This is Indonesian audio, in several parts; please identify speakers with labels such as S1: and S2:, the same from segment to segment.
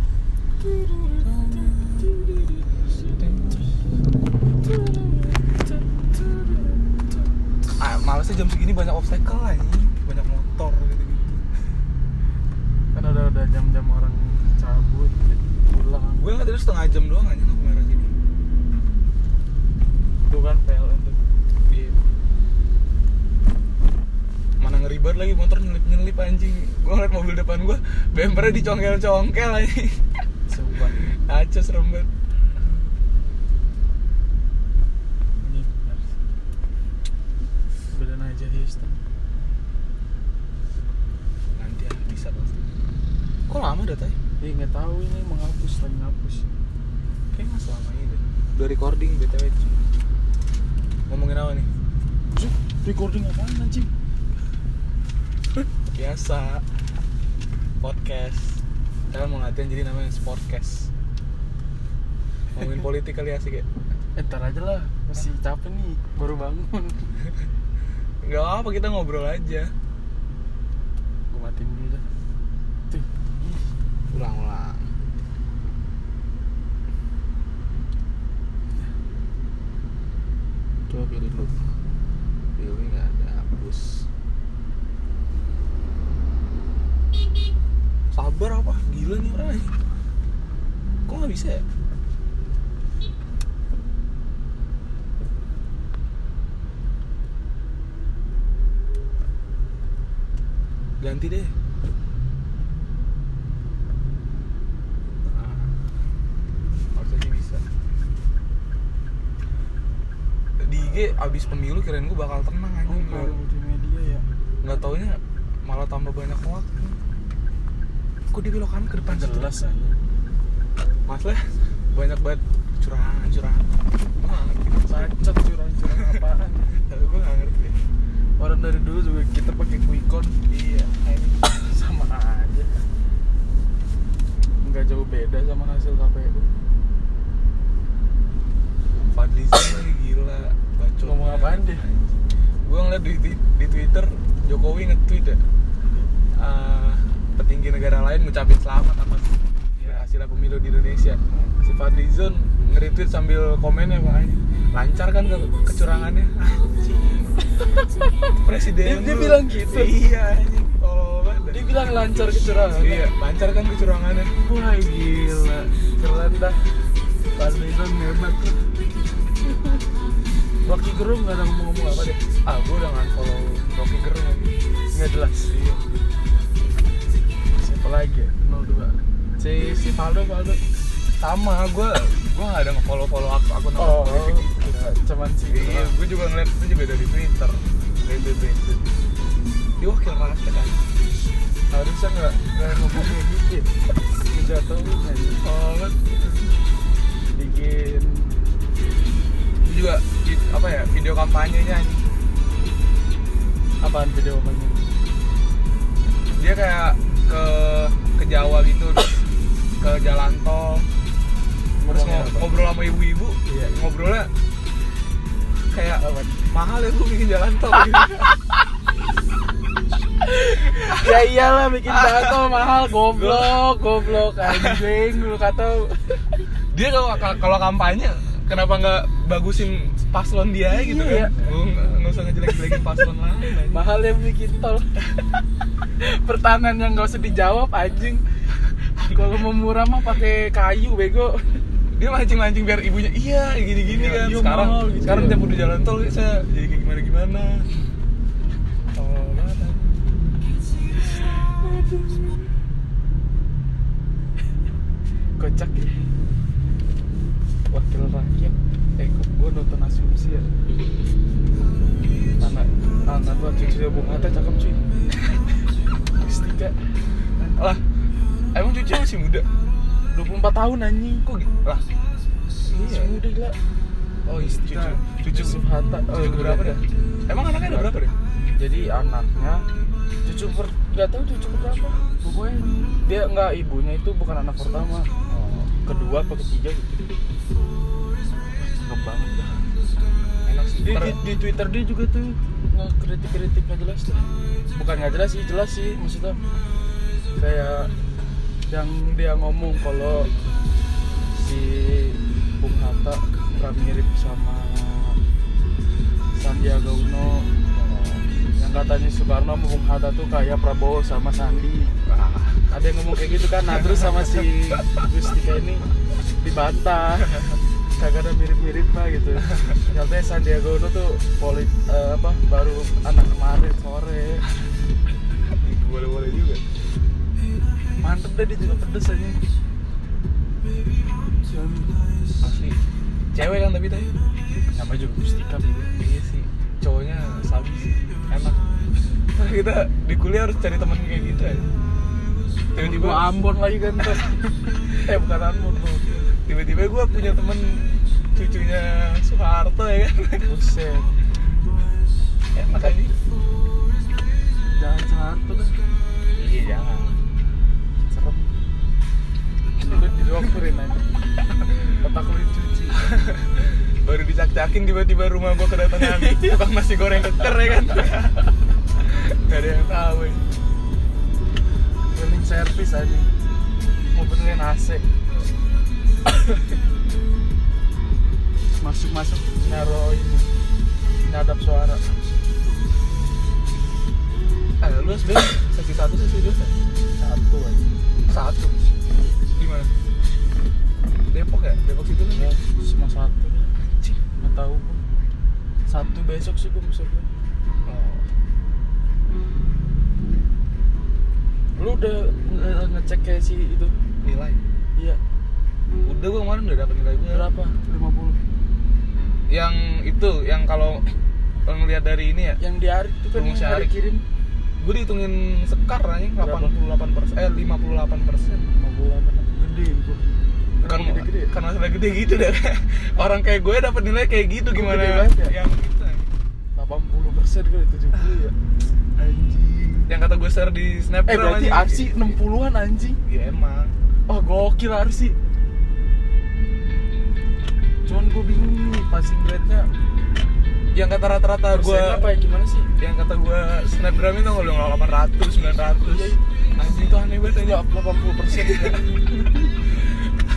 S1: Kan
S2: Ah, banyak obstacle aja banyak motor gitu gitu
S1: kan udah udah jam-jam orang cabut pulang
S2: gue nggak tadi setengah jam doang aja lampu merah sini
S1: itu kan PLN tuh di
S2: mana ngeribat lagi motor nyelip nyelip anjing gue ngeliat mobil depan gue bempernya dicongkel congkel anjing
S1: Subang
S2: aja serem banget
S1: ini benar badan aja Houston
S2: nanti ah, bisa pasti kok lama datanya
S1: Ih nggak tahu ini menghapus lagi ngapus
S2: kayak nggak selama ini deh udah recording btw ngomongin apa nih
S1: Zuk, recording apaan anjing
S2: biasa podcast kalian mau latihan jadi namanya sportcast ngomongin politik kali asik ya
S1: eh, ntar aja lah masih capek nih baru bangun
S2: nggak apa kita ngobrol aja
S1: gue matiin dulu dah tuh ih,
S2: ulang ulang coba pilih dulu pilih nggak ada hapus sabar apa gila nih orang anjing. kok nggak bisa ya ganti deh Ah, harusnya sih bisa di IG abis pemilu kirain gue bakal tenang aja
S1: oh baru multimedia ya
S2: nggak taunya malah tambah banyak hoax kok dibelokkan ke depan
S1: Nggak
S2: situ?
S1: jelas aja
S2: mas lah banyak banget curahan curahan gue nggak ngerti
S1: bacot curang-curang apaan
S2: tapi gue nggak ngerti
S1: orang dari dulu juga kita pakai kuikon
S2: iya
S1: gitu. sama aja nggak jauh beda sama hasil KPU
S2: Fadli Zon ini gila bacot
S1: Ngomong apaan dia?
S2: gue ngeliat di, di, di Twitter Jokowi nge-tweet ya eh, petinggi negara lain ngucapin selamat atas
S1: Iya.
S2: hasil pemilu di Indonesia si Fadli Zon nge-retweet sambil komennya pak lancar kan ke kecurangannya anjing
S1: Dia-
S2: presiden
S1: dia
S2: lu.
S1: bilang gitu?
S2: iya anjing tolol banget
S1: dia bilang lancar kecurangan
S2: iya lancar kan kecurangannya
S1: wah gila keren dah Fadlizon hebat tuh Rocky Gerung nggak ada ngomong-ngomong apa deh
S2: ah gue udah nge-follow Rocky Gerung lagi
S1: nggak jelas
S2: iya
S1: siapa lagi ya? 02 si si Faldo Faldo
S2: sama gue gue gak ada nge-follow follow aku akun akun
S1: oh
S2: politik gitu
S1: cuman si
S2: iya gue juga ngeliat itu juga dari twitter dari twitter dia wakil rakyat kan
S1: harusnya nggak nggak ngomong kayak gitu ya. ngejatuhin aja
S2: oh
S1: kan, bikin
S2: dia juga di- apa ya video kampanyenya anjing.
S1: apaan video apanya
S2: dia kayak ke ke Jawa gitu terus ke jalan tol terus
S1: Ngomongnya
S2: ngo-
S1: apa?
S2: ngobrol sama ibu-ibu
S1: Iya.
S2: ngobrolnya kayak
S1: Apaan?
S2: mahal ya bu bikin jalan tol
S1: ya iyalah bikin tato mahal goblok goblok anjing dulu kata
S2: dia kalau ka- kalau kampanye kenapa nggak bagusin paslon dia aja gitu
S1: Iya.
S2: kan Gua nggak nggak usah ngejelek-jelekin paslon lain anjing.
S1: mahal yang bikin tol pertanyaan yang gak usah dijawab anjing kalau mau murah mah pakai kayu bego
S2: dia mancing-mancing biar ibunya iya
S1: Iya,
S2: gini-gini kan
S1: iya,
S2: sekarang
S1: mahal gitu
S2: sekarang
S1: ya.
S2: tiap udah jalan tol saya jadi kayak gimana-gimana oh banget anjing.
S1: kocak ya wakil rakyat eh kok gue nonton asumsi ya anak anak tuh asumsi bung hatta cakep cuy Kristika
S2: lah emang cucu masih muda
S1: 24 tahun anjing
S2: kok gitu lah
S1: Iya.
S2: Iya.
S1: Udah gila.
S2: oh iya cucu cucu
S1: Yusuf Hatta. Oh,
S2: cucu berapa
S1: iya.
S2: dah emang anaknya ada berapa deh
S1: Jadi anaknya cucu per nggak tahu cucu berapa. Pokoknya dia nggak ibunya itu bukan anak pertama. Oh, Kedua apa ketiga gitu. Cakep banget dah.
S2: enak sih
S1: Di,
S2: Ntar-
S1: di, di Twitter dia juga tuh ngekritik-kritik nggak jelas tuh. Bukan nggak jelas sih, jelas sih maksudnya. Kayak yang dia ngomong kalau si Bung Hatta nggak mirip sama Sandiaga Uno yang katanya Soekarno Bung Hatta tuh kayak Prabowo sama Sandi ada yang ngomong kayak gitu kan nah terus sama si Gustika ini dibantah kagak ada mirip-mirip lah gitu katanya Sandiaga Uno tuh polit eh, apa baru anak kemarin sore
S2: boleh boleh juga
S1: mantep deh dia juga pedes aja
S2: asli cewek kan tapi tadi
S1: nama juga Gustika bego.
S2: iya sih cowoknya sabi sih enak Nah, kita di kuliah harus cari teman kayak gitu ya tiba-tiba
S1: Gua Ambon lagi kan ntar. eh bukan Ambon bro
S2: tiba-tiba gue punya temen cucunya Soeharto ya kan
S1: buset
S2: enak aja
S1: jangan satu kan
S2: iya jangan
S1: serem udah didokurin aja otak lu dicuci
S2: baru dicak-cakin tiba-tiba rumah gue kedatangan tukang nasi goreng keker ya kan gak ada yang tahu ya.
S1: cleaning service aja mau benerin AC masuk-masuk naro ini nyadap suara
S2: ah lu sebenernya sesi satu sesi dua sesi
S1: satu aja
S2: satu di mana Depok ya Depok situ kan
S1: ya cuma satu nggak tahu gua. satu besok sih gue maksudnya
S2: Oh.
S1: lu udah eh, ngecek kayak si itu
S2: nilai
S1: iya
S2: udah gue kemarin udah dapet nilai gue
S1: berapa 50
S2: yang itu yang kalau kalau ngelihat dari ini ya
S1: yang di Arik tuh kan
S2: Rumus
S1: yang ada
S2: Arik.
S1: kirim
S2: gue dihitungin sekar anjing
S1: Berapa?
S2: 88 persen eh 58 persen
S1: 58 gede itu
S2: kan
S1: gede-gede
S2: kan masalah gede gitu deh orang kayak gue dapet nilai kayak gitu
S1: Gede
S2: gimana
S1: banget ya?
S2: yang gitu anjing.
S1: 80 persen kali 70 ya anjing
S2: yang kata gue share di snapgram
S1: eh berarti
S2: anjing.
S1: Arsi 60-an anjing
S2: ya emang
S1: Wah gokil Arsi Cuman gue bingung nih passing grade-nya
S2: Nah, yang kata rata-rata gue
S1: Persennya apa ya gimana sih?
S2: yang kata gue snapgram itu nggak lu 800
S1: Iya,
S2: 900 anjing itu aneh banget anjing
S1: Enggak, 80 persen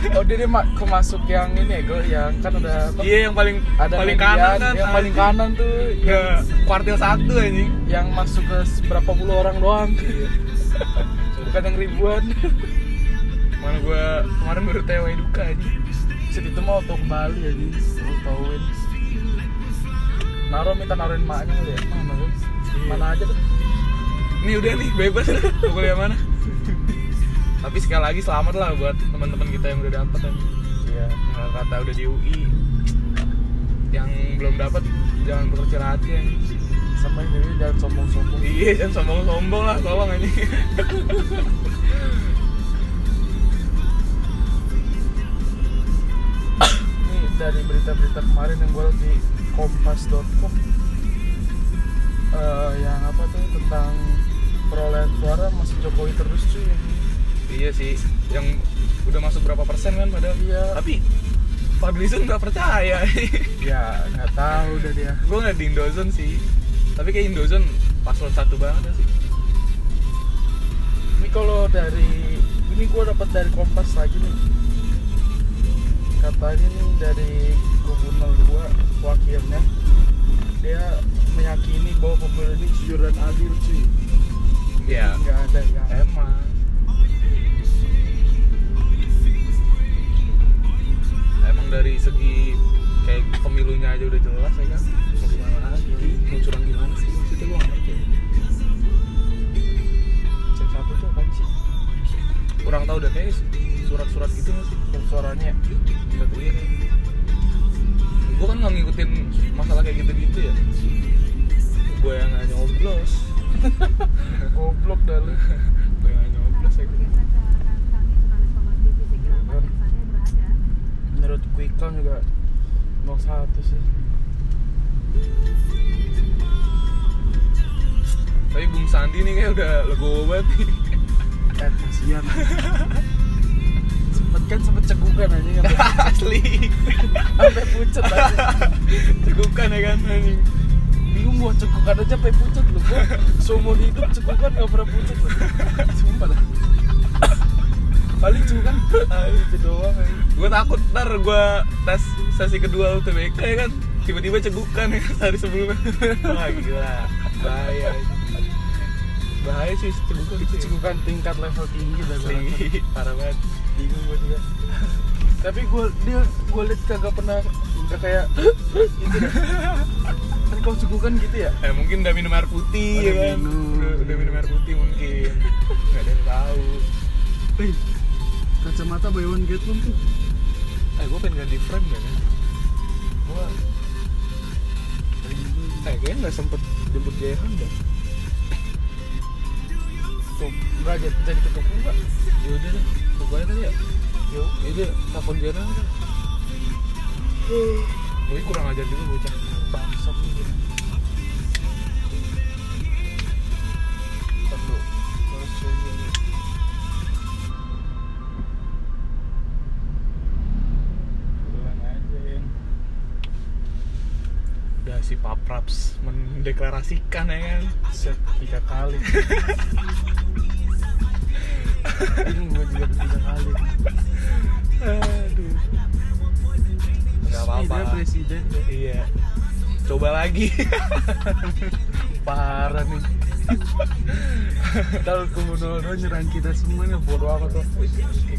S1: Oh dia, dia ma- kemasuk yang ini ya gue yang kan udah apa?
S2: iya yang paling
S1: Ada
S2: paling
S1: median,
S2: kanan kan Iya.
S1: yang paling
S2: anjing.
S1: kanan tuh iya.
S2: ke kuartil satu anjing
S1: yang masuk ke berapa puluh orang doang bukan yang ribuan
S2: mana gue kemarin baru tewa duka anjing
S1: Set itu mau auto kembali ya, aja lu tauin naro minta naruhin maknya kali ya mana lu?
S2: Iya.
S1: mana aja tuh
S2: ini udah nih bebas mau kuliah mana tapi sekali lagi selamat lah buat teman-teman kita yang udah dapet anjing
S1: iya
S2: yang kata udah di UI yang belum dapat jangan berkecil hati anjing
S1: sama yang dulu jangan sombong-sombong
S2: iya jangan sombong-sombong lah tolong anjing
S1: ini dari berita-berita kemarin yang gue liat di kompas.com Eh, yang apa tuh tentang perolehan suara masih Jokowi terus cuy yang
S2: Iya sih, yang udah masuk berapa persen kan padahal.
S1: Iya.
S2: Tapi Fadlizon nggak percaya.
S1: ya nggak tahu udah dia
S2: gue nggak di Indozone sih. Tapi kayak Indozone paslon satu banget sih.
S1: ini kalau dari ini gue dapat dari kompas lagi nih katanya nih dari gubernur gue wakilnya dia meyakini bahwa pemilu ini jujur dan adil cuy
S2: Iya.
S1: nggak ada yang
S2: Emang. Emang dari segi kayak pemilunya aja udah jelas ya kan. Mau gimana lagi? Mau curang gimana sih? Maksudnya gue nggak ngerti.
S1: cek satu tuh apa sih
S2: Kurang tahu udah kayak surat-surat gitu nggak sih?
S1: yang suaranya
S2: Udah kuliah kayak. Gue kan nggak ngikutin masalah kayak gitu-gitu ya. Gue yang nggak nyoblos.
S1: goblok dah lu
S2: Gue yang nggak nyoblos ya. gua.
S1: menurut quick count juga 01 sih
S2: Tapi Bung Sandi nih kayak udah legowo banget nih.
S1: eh kasihan sempet kan sempet cegukan aja
S2: Asli.
S1: sampai pucet aja
S2: Cegukan ya kan anjing.
S1: bingung gua cegukan aja sampai pucet loh gua seumur hidup cegukan gak pernah pucet loh sumpah dah paling cegukan ah, itu doang aja.
S2: Gue ya. takut ntar gue tes sesi kedua UTBK ya kan. Tiba-tiba cegukan ya kan, hari sebelumnya. Wah gila. Ah, Bahaya. anjing. bahaya sih Cibukan
S1: itu cikukan tingkat level tinggi lah gua rasa.
S2: Asli, parah banget
S1: bingung gue juga tapi gue dia gue liat kagak pernah nggak kayak gitu dah. kan kau cikukan gitu ya
S2: Eh mungkin udah minum air putih
S1: Oh,
S2: ya
S1: udah
S2: kan
S1: minum.
S2: Udah, udah minum air putih mungkin Gak ada yang tahu.
S1: Wih, kacamata buy one get one tuh
S2: Eh gue pengen ganti frame gak kan Gue Eh kayaknya gak sempet jemput Jaihan dah
S1: tuh nggak jadi jadi ketuk enggak
S2: Yaudah lah Pokoknya tadi ya
S1: yo
S2: Yaudah telepon Jaihan aja Gue kurang ajar juga bocah
S1: bangsat nih dia. Ntar dulu, harus cari dia nih. Pulang aja, Yan.
S2: Udah Ya, si Papraps mendeklarasikan ya kan
S1: Set tiga kali. Bingung gue juga tiga kali.
S2: Aduh
S1: Resmi
S2: Gak
S1: Dia
S2: apa-apa
S1: presiden deh.
S2: Iya Coba lagi
S1: Parah nih. Kalau kemudian nyerang kita semuanya bodo amat tuh.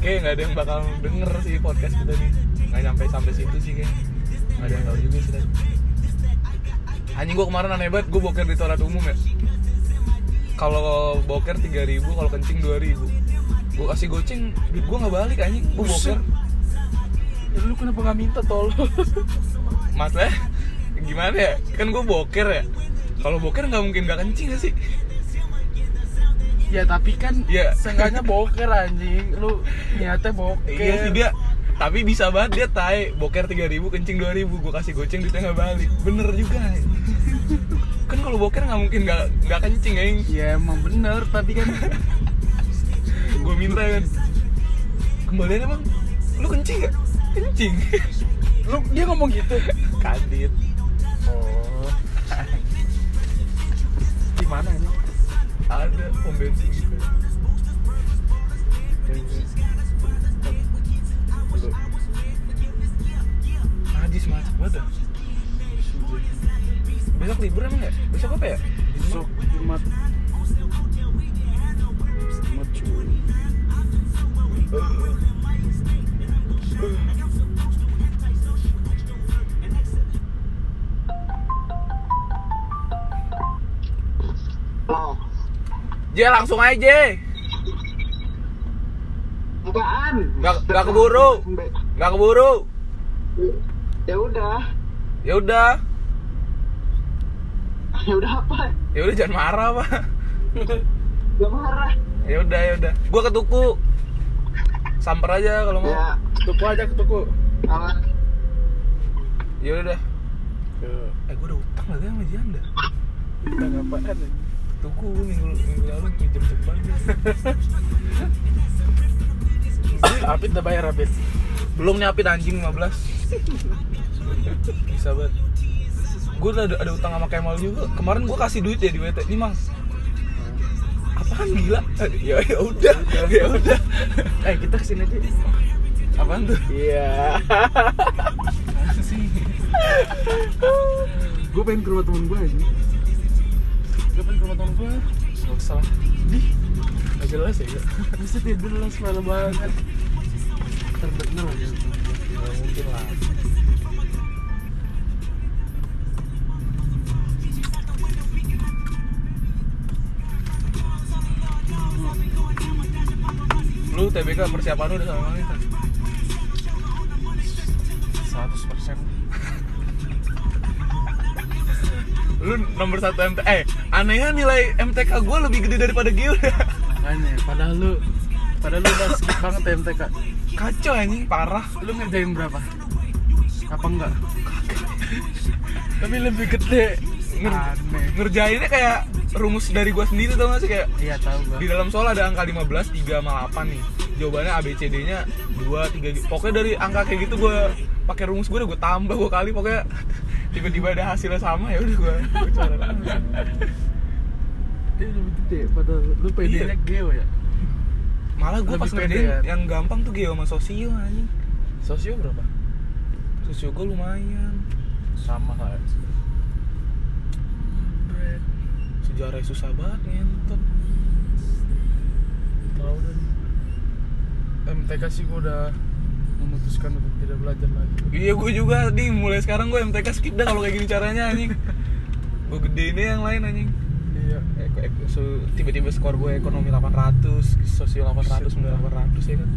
S2: Kayaknya nggak ada yang bakal denger sih podcast kita nih Nggak nyampe sampai situ sih kayaknya Nggak ada yang tahu juga sih tadi. Anjing gue kemarin aneh banget, gue boker di toilet umum ya Kalau boker 3000, kalau kencing 2000 Gue kasih goceng, duit gue nggak balik anjing, gue boker
S1: Buset. Lu kenapa gak minta tolong?
S2: Masalah eh, gimana ya, kan gue boker ya Kalau boker nggak mungkin nggak kencing gak sih?
S1: Ya tapi kan
S2: Iya.
S1: seenggaknya boker anjing Lu niatnya boker
S2: Iya sih dia tapi bisa banget dia tai boker 3000 kencing 2000 gue kasih goceng duitnya nggak balik bener juga eh. kan kalau boker nggak mungkin nggak nggak kencing ya
S1: Ya emang bener tapi kan
S2: gue minta kan kembalian emang lu kencing gak kencing
S1: Lu dia ngomong gitu
S2: kadit
S1: Oh Gimana ini?
S2: ada pom bensin gitu Aduh. Najis macet banget dah. Besok libur emang ya? Besok apa ya?
S1: Besok Jumat Jumat cuy
S3: Oh,
S2: J langsung aja J
S3: bukaan.
S2: Nggak- nggak keburu. Nggak keburu
S3: Ya udah,
S2: Ya udah
S3: ya udah apa?
S2: Ya udah jangan marah pak
S3: Gak marah.
S2: Ya udah ya udah Gua ke tuku Samper aja kalau mau
S3: Ya,
S1: Tuku aja ke tuku
S3: alat.
S2: Ya udah dah. Eh gua udah utang lagi sama Janda
S1: Kita ngapain anjing?
S2: Tuku gua minggu, minggu lalu minjem cepat
S1: Apit udah bayar Apit
S2: Belum nyapit anjing 15 Bisa banget Gua udah ada, ada utang sama Kemal juga Kemarin gua kasih duit ya di WT Nih mang Apaan gila? Eh, Ya ya udah Ya udah
S1: Eh kita kesini aja
S2: Apaan tuh?
S1: Iya Gue pengen ke rumah temen gue aja Gue pengen ke rumah temen gue
S2: Gak usah lah
S1: Di
S2: Gak jelas ya gak?
S1: Bisa tidur lah semalam banget Terdengar lagi Iya,
S2: Gak mungkin lah Lu TBK persiapan lu udah sama wanita
S1: 100 persen
S2: Lu nomor satu MT Eh anehnya nilai MTK gue lebih gede daripada Gio
S1: Aneh, padahal lu Padahal lu udah skip banget ya MTK
S2: Kacau anjing parah
S1: Lu ngerjain berapa? Apa enggak? Tapi lebih gede
S2: Nger-
S1: Aneh
S2: Ngerjainnya kayak rumus dari gue sendiri tau gak sih kayak
S1: Iya tahu
S2: Di
S1: gue
S2: dalam soal ada angka 15, 3 sama 8 nih. Jawabannya ABCD-nya 2, 3 gitu. Pokoknya dari angka kayak gitu gue pakai rumus gue udah gue tambah gue kali pokoknya tiba-tiba ada hasilnya sama ya udah gue gue coret.
S1: Dia lebih gede padahal Lu pedenya geo ya?
S2: malah gue
S1: Lebih
S2: pas
S1: pede
S2: ngerjain
S1: ya.
S2: yang gampang tuh geo sama sosio anjing
S1: Sosio berapa?
S2: sosio gue lumayan
S1: Sama kayak
S2: sejarah susah banget ngentot
S1: tahu dan MTK sih gue udah memutuskan untuk tidak belajar lagi
S2: Iya gue juga nih mulai sekarang gue MTK skip dah kalau kayak gini caranya anjing. gue gedein deh yang lain anjing.
S1: iya
S2: Eko- eko- so- Tiba-tiba skor gue ekonomi 800, sosio
S1: Buset,
S2: 800,
S1: dah.
S2: 800 ya kan.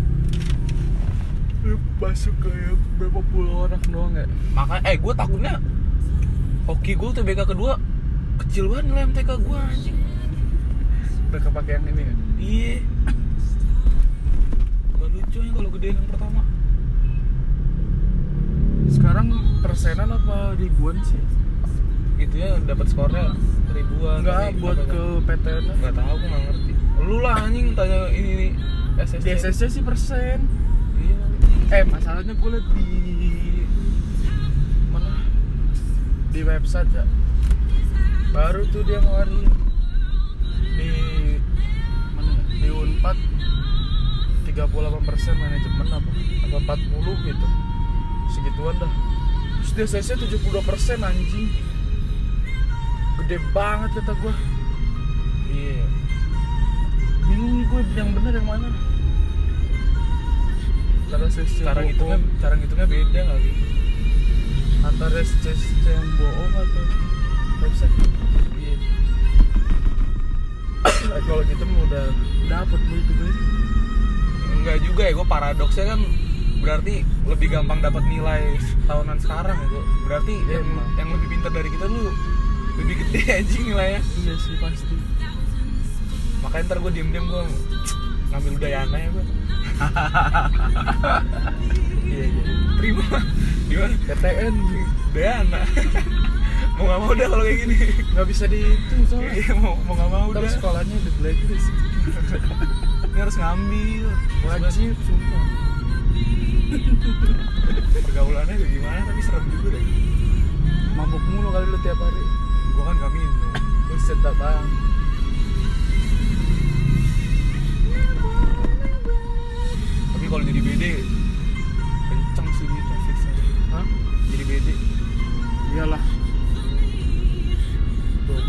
S1: masuk kayak berapa puluh orang doang ya
S2: Makanya eh gue takutnya hoki gue TBK kedua kecil banget nilai MTK gue anjing.
S1: udah kepake yang ini ya
S2: Iya. Gak lucu ya kalau gedein yang pertama.
S1: sekarang persenan apa ribuan sih
S2: Itu ya dapat skornya ribuan.
S1: enggak
S2: tapi
S1: buat
S2: apa-
S1: ke PTN -nya.
S2: nggak tahu gue nggak ngerti. Lu lah anjing tanya ini nih. SSC.
S1: di SSC sih persen
S2: Iya.
S1: eh masalahnya gue liat di mana di website ya baru tuh dia ngeluarin di mana ya? di unpad 38 persen manajemen apa apa 40 gitu segituan dah terus di SSC 72 persen anjing gede banget kata gue
S2: Iya.
S1: bingung nih gue yang bener yang mana Antara SSC
S2: Cara
S1: bohong.
S2: ngitungnya, cara ngitungnya kan beda kali.
S1: antara SCC yang bohong atau website
S2: Iya.
S1: Nah, kalau gitu mah udah dapet gue itu gue
S2: Enggak juga ya, gue paradoksnya kan berarti lebih gampang dapat nilai tahunan sekarang ya gue. Berarti
S1: Iya,
S2: yang
S1: emang.
S2: yang lebih pintar dari kita lu lebih gede anjing nilainya.
S1: iya sih pasti
S2: Makanya ntar gue diem-diem gue ngambil dayana ya gue.
S1: iya iya
S2: Terima. Gimana?
S1: PTN
S2: Dayana. mau nggak mau udah kalau kayak gini.
S1: nggak bisa dihitung soalnya
S2: Iya mau mau nggak mau
S1: Ntar
S2: udah.
S1: sekolahnya di blacklist
S2: Ini harus ngambil.
S1: wajib sumpah
S2: Pergaulannya kayak gimana tapi serem juga deh.
S1: mabuk mulu kali lu tiap hari
S2: Gue kan nggak minum.
S1: buset dah bang
S2: tapi kalau jadi BD kenceng sih gitu fixnya
S1: Hah?
S2: jadi BD
S1: iyalah Tuh.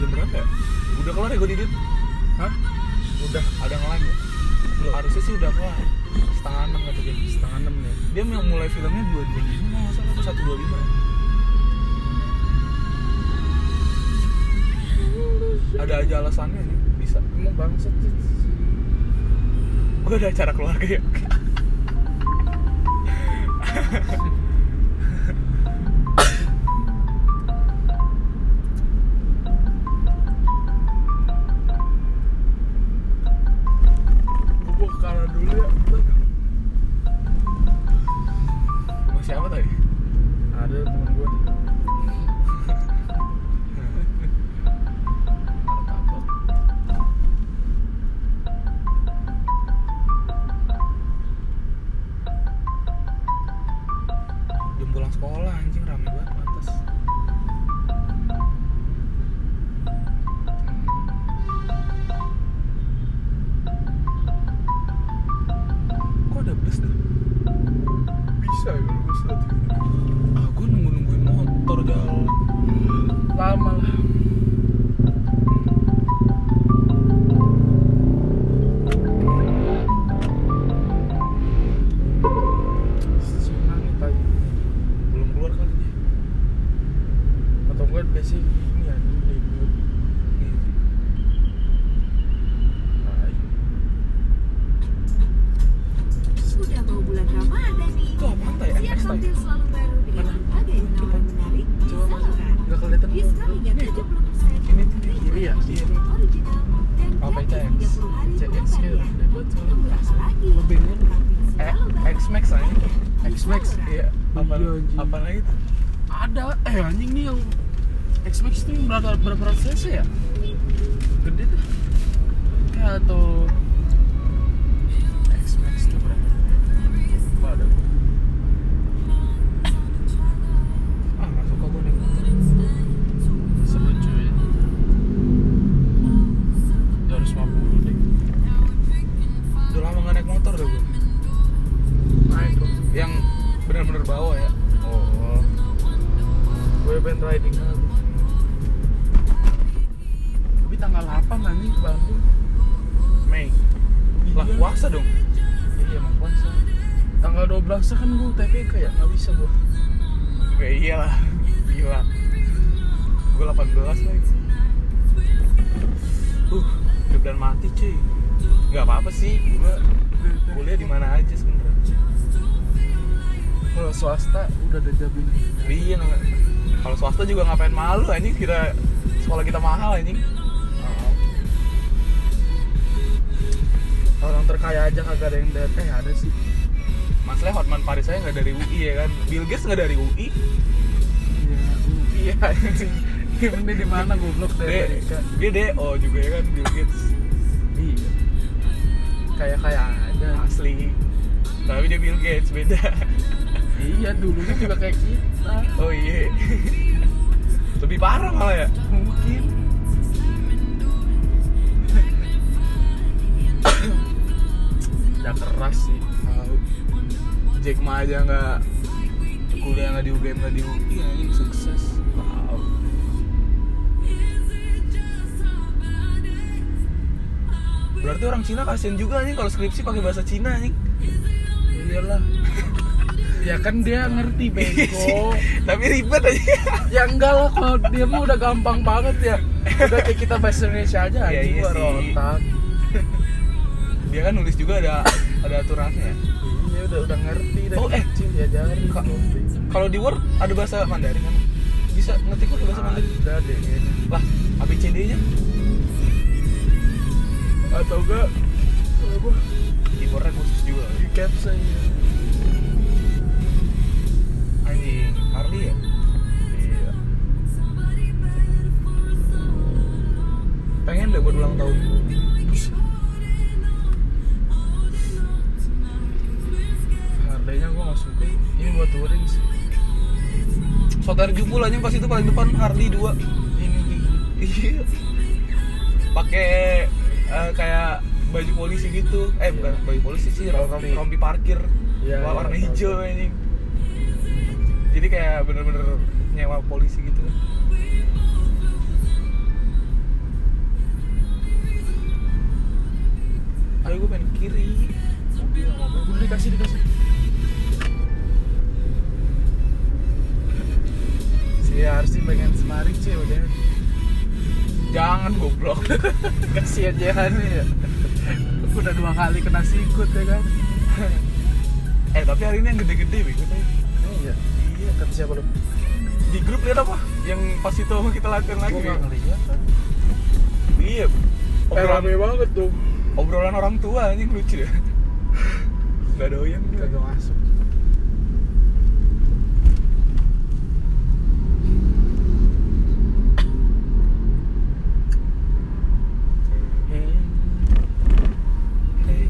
S2: jam berapa ya? udah kelar ya gue didit
S1: Hah?
S2: udah ada ngelan ya
S1: Belum.
S2: harusnya sih udah kelar setengah enam kata dia
S1: setengah enam nih
S2: dia yang mulai filmnya dua dua lima salah atau satu dua lima ada aja alasannya sih bisa
S1: emang bangsat sih
S2: gue ada acara keluarga ya
S1: bubuk kalah dulu ya
S2: masih apa tadi
S1: ada temen gue
S2: jam pulang sekolah anjing rame banget atas kok ada bus dah
S1: bisa ya gue satu
S2: ah gue nunggu nungguin motor jalan
S1: lama lah Tsunami tadi.
S2: belum keluar kali dia
S1: atau enggak biasanya ini ya ini di mute.
S2: Nih.
S1: Tai.
S4: Sudah mau bulan Ramadan nih.
S2: itu apaan tay
S4: Siap
S2: MX tay
S4: tampil selalu baru dengan
S2: Mana?
S4: berbagai penawaran menarik di
S1: Coba masuk.
S4: Zalora.
S1: Nggak kelihatan
S4: Diskon
S1: gua.
S4: hingga
S1: Ini itu.
S4: 70%
S2: Ini tuh di
S1: kiri ya?
S4: Dengan brand original dan
S2: Apa
S4: gratis
S2: CX?
S4: 30 hari
S1: CX gitu.
S4: pengembalian.
S1: Udah buat soalnya.
S4: Tunggu apa lagi?
S2: Lebih ini.
S4: Tampil
S2: Eh,
S4: selalu baru
S2: X Max aja
S4: hanya di
S2: X Max
S4: Zalora.
S2: iya apa
S1: Iya, anjing.
S2: apa lagi tuh
S1: ada eh anjing nih yang X-Max itu yang berapa berapa ratus cc ya gede tuh kayak atau
S2: X Max tuh berapa
S1: apa ada gua.
S2: ah nggak suka gue nih
S1: seru cuy 250 deh
S2: udah lama nggak naik motor deh gue
S1: naik dong
S2: yang benar-benar bawa ya
S1: oh gue pengen riding aja anjing ke Bandung
S2: Mei lah
S1: Iya.
S2: puasa dong
S1: Iya emang puasa Tanggal 12 kan gue TPK ya, gak bisa gue
S2: ya iyalah gila gue 18 lagi uh udah bulan mati cuy nggak apa apa sih gue kuliah di mana aja sebenarnya
S1: Kalau swasta udah ada jaminan
S2: iya nggak- kalau swasta juga ngapain malu anjing kira sekolah kita mahal anjing
S1: Orang terkaya aja kagak ada yang dari, eh ada sih
S2: Masalahnya Hotman Paris saya nggak dari UI ya kan Bill Gates nggak dari UI
S1: Iya,
S2: Iya anjing
S1: Emang dia di mana goblok dari
S2: Dia,
S1: Amerika?
S2: dia DO juga ya kan Bill Gates
S1: Iya. Kayak kayak aja.
S2: Asli Tapi dia Bill Gates beda
S1: Iya dulunya juga kayak kita.
S2: Oh iya Lebih parah malah ya
S1: Mungkin. ya keras sih.
S2: Tahu. Jack Ma aja nggak kuliah nggak di UGM nggak di UI anjing Iya, sukses wow berarti orang Cina kasian juga anjing kalau skripsi pakai bahasa Cina anjing
S1: Iyalah. Ya kan dia ngerti bego.
S2: tapi ribet aja
S1: ya enggak lah kalau dia mah udah gampang banget ya. Udah kayak kita bahasa Indonesia aja
S2: Iya,
S1: anjing
S2: iya
S1: gua
S2: sih.
S1: rotak.
S2: dia kan nulis juga ada ada aturannya
S1: Iya udah udah ngerti dari
S2: Oh, eh.
S1: kecil ya, diajarin.
S2: Kak.
S1: goblok.
S2: kalau di Word ada bahasa Mandarin kan bisa ngetik pakai bahasa Mandarin
S1: ada deh kayaknya.
S2: lah ABCD nya
S1: atau enggak apa
S2: keyboardnya khusus juga
S1: di caps aja
S2: anjing Harley ya
S1: iya
S2: pengen deh buat ulang tahun
S1: harganya gua nggak suka ini buat touring sih
S2: saudara jumbo anjing pas itu paling depan Harley 2
S1: ini nih
S2: Iya. Pakai eh, kayak baju polisi gitu. Eh bukan baju polisi sih, rompi
S1: Rompi.
S2: rompi parkir.
S1: Iya,
S2: Wah,
S1: iya,
S2: warna
S1: tahu,
S2: hijau
S1: tahu.
S2: anjing. Jadi kayak bener-bener nyewa polisi gitu. Ayo gue pengen ke kiri.
S1: mobil mobil Gua dikasih dikasih si Arsi pengen semarik sih udah
S2: Jangan goblok.
S1: kasihan Jehan ya udah dua kali kena sikut ya kan
S2: eh tapi hari ini yang gede-gede bego tadi.
S1: iya iya kata siapa lu
S2: Di grup lihat apa? Yang pas itu kita latihan lagi.
S1: gua nggak
S2: Bego.
S1: ngeliat kan
S2: Iya.
S1: eh
S2: Obrolan-
S1: rame banget tuh
S2: obrolan orang tua anjing lucu ya nggak doyan gue.
S1: kagak masuk
S2: Hey, hey.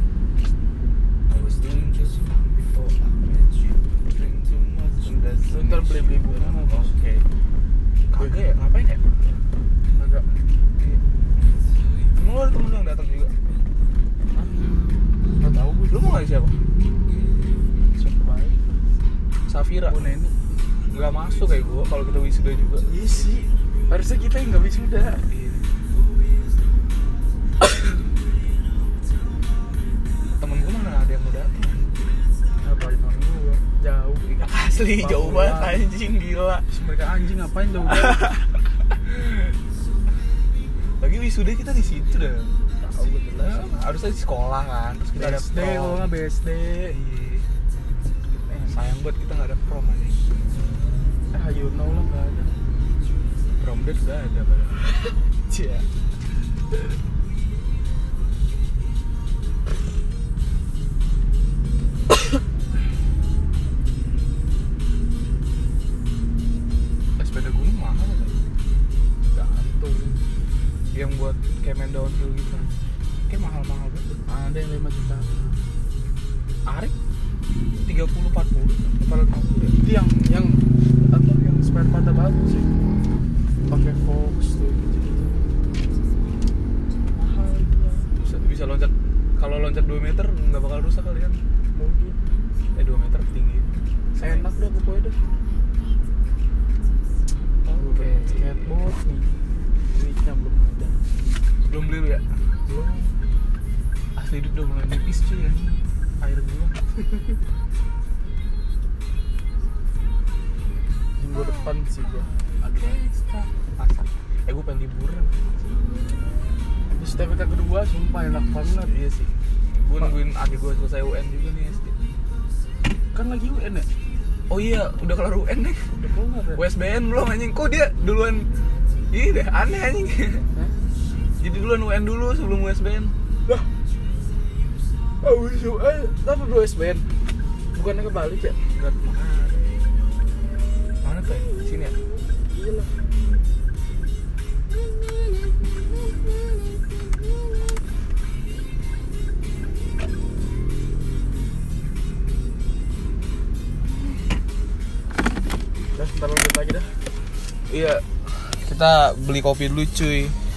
S2: I was doing just fine before I met you. Drink too much and that's the
S1: Bentar,
S2: next
S1: beli-beli
S2: you
S1: bunga
S2: know.
S1: mau.
S2: Oke. Kagak ya, ngapain ya?
S1: agak
S2: Emang Lu ada temen lu yang datang juga.
S1: nggak tahu gue
S2: Lu mau ngajak siapa?
S1: siapa baik
S2: Safira.
S1: Bu Neni
S2: Nggak masuk kayak gua kalau kita wisuda juga.
S1: Iya sih Harusnya kita yang gak wisuda
S2: Temen gua mana ada yang mau datang?
S1: Ngapain bang gue Jauh
S2: Asli jauh banget
S1: Bakulan.
S2: anjing gila.
S1: Terus mereka anjing ngapain jauh jauh
S2: Lagi wisuda kita di situ dah.
S1: Tahu gue jelas
S2: harusnya di sekolah kan terus kita ada
S1: BSD kalau
S2: prom
S1: nggak BSD
S2: Iya. sayang buat kita nggak ada prom aja
S1: Ah you know lah nggak ada
S2: prom date sudah ada padahal
S1: Cia
S2: Eh, sepeda gunung mahal kan
S1: Gantung
S2: yang buat kayak main downhill gitu kayak mahal mahal banget
S1: Ada yang 5 juta
S2: arik 30 40 kepala aku deh
S1: Itu yang Yang Apa yang spare part bagus sih pakai Fox tuh gitu-gitu Mahal dia
S2: bisa, bisa loncat kalau loncat 2 meter nggak bakal rusak kalian
S1: Mungkin
S2: eh 2 meter tinggi
S1: Enak dah pokoknya dah
S2: oke
S1: skateboard nih duitnya belum ada
S2: belum beli lu ya belum asli hidup udah mulai nipis cuy ya air gua
S1: minggu depan sih gua
S2: aduh asap eh gua pengen liburan
S1: terus TPK kedua sumpah enak banget
S2: iya sih gua nungguin adik gua selesai UN juga nih SD
S1: kan lagi UN ya
S2: oh iya udah kelar UN deh
S1: udah keluar ya
S2: USBN belum anjing kok dia duluan iya deh aneh anjing
S1: Hah?
S2: jadi duluan UN dulu sebelum USBN
S1: lah
S2: Oh,
S1: abis UN tapi dua SBN bukannya kebalik ya
S2: Enggak kemarin mana tuh ya? Di sini ya
S1: iya lah Udah, sebentar lanjut lagi dah
S2: Iya. Kita beli kopi dulu cuy.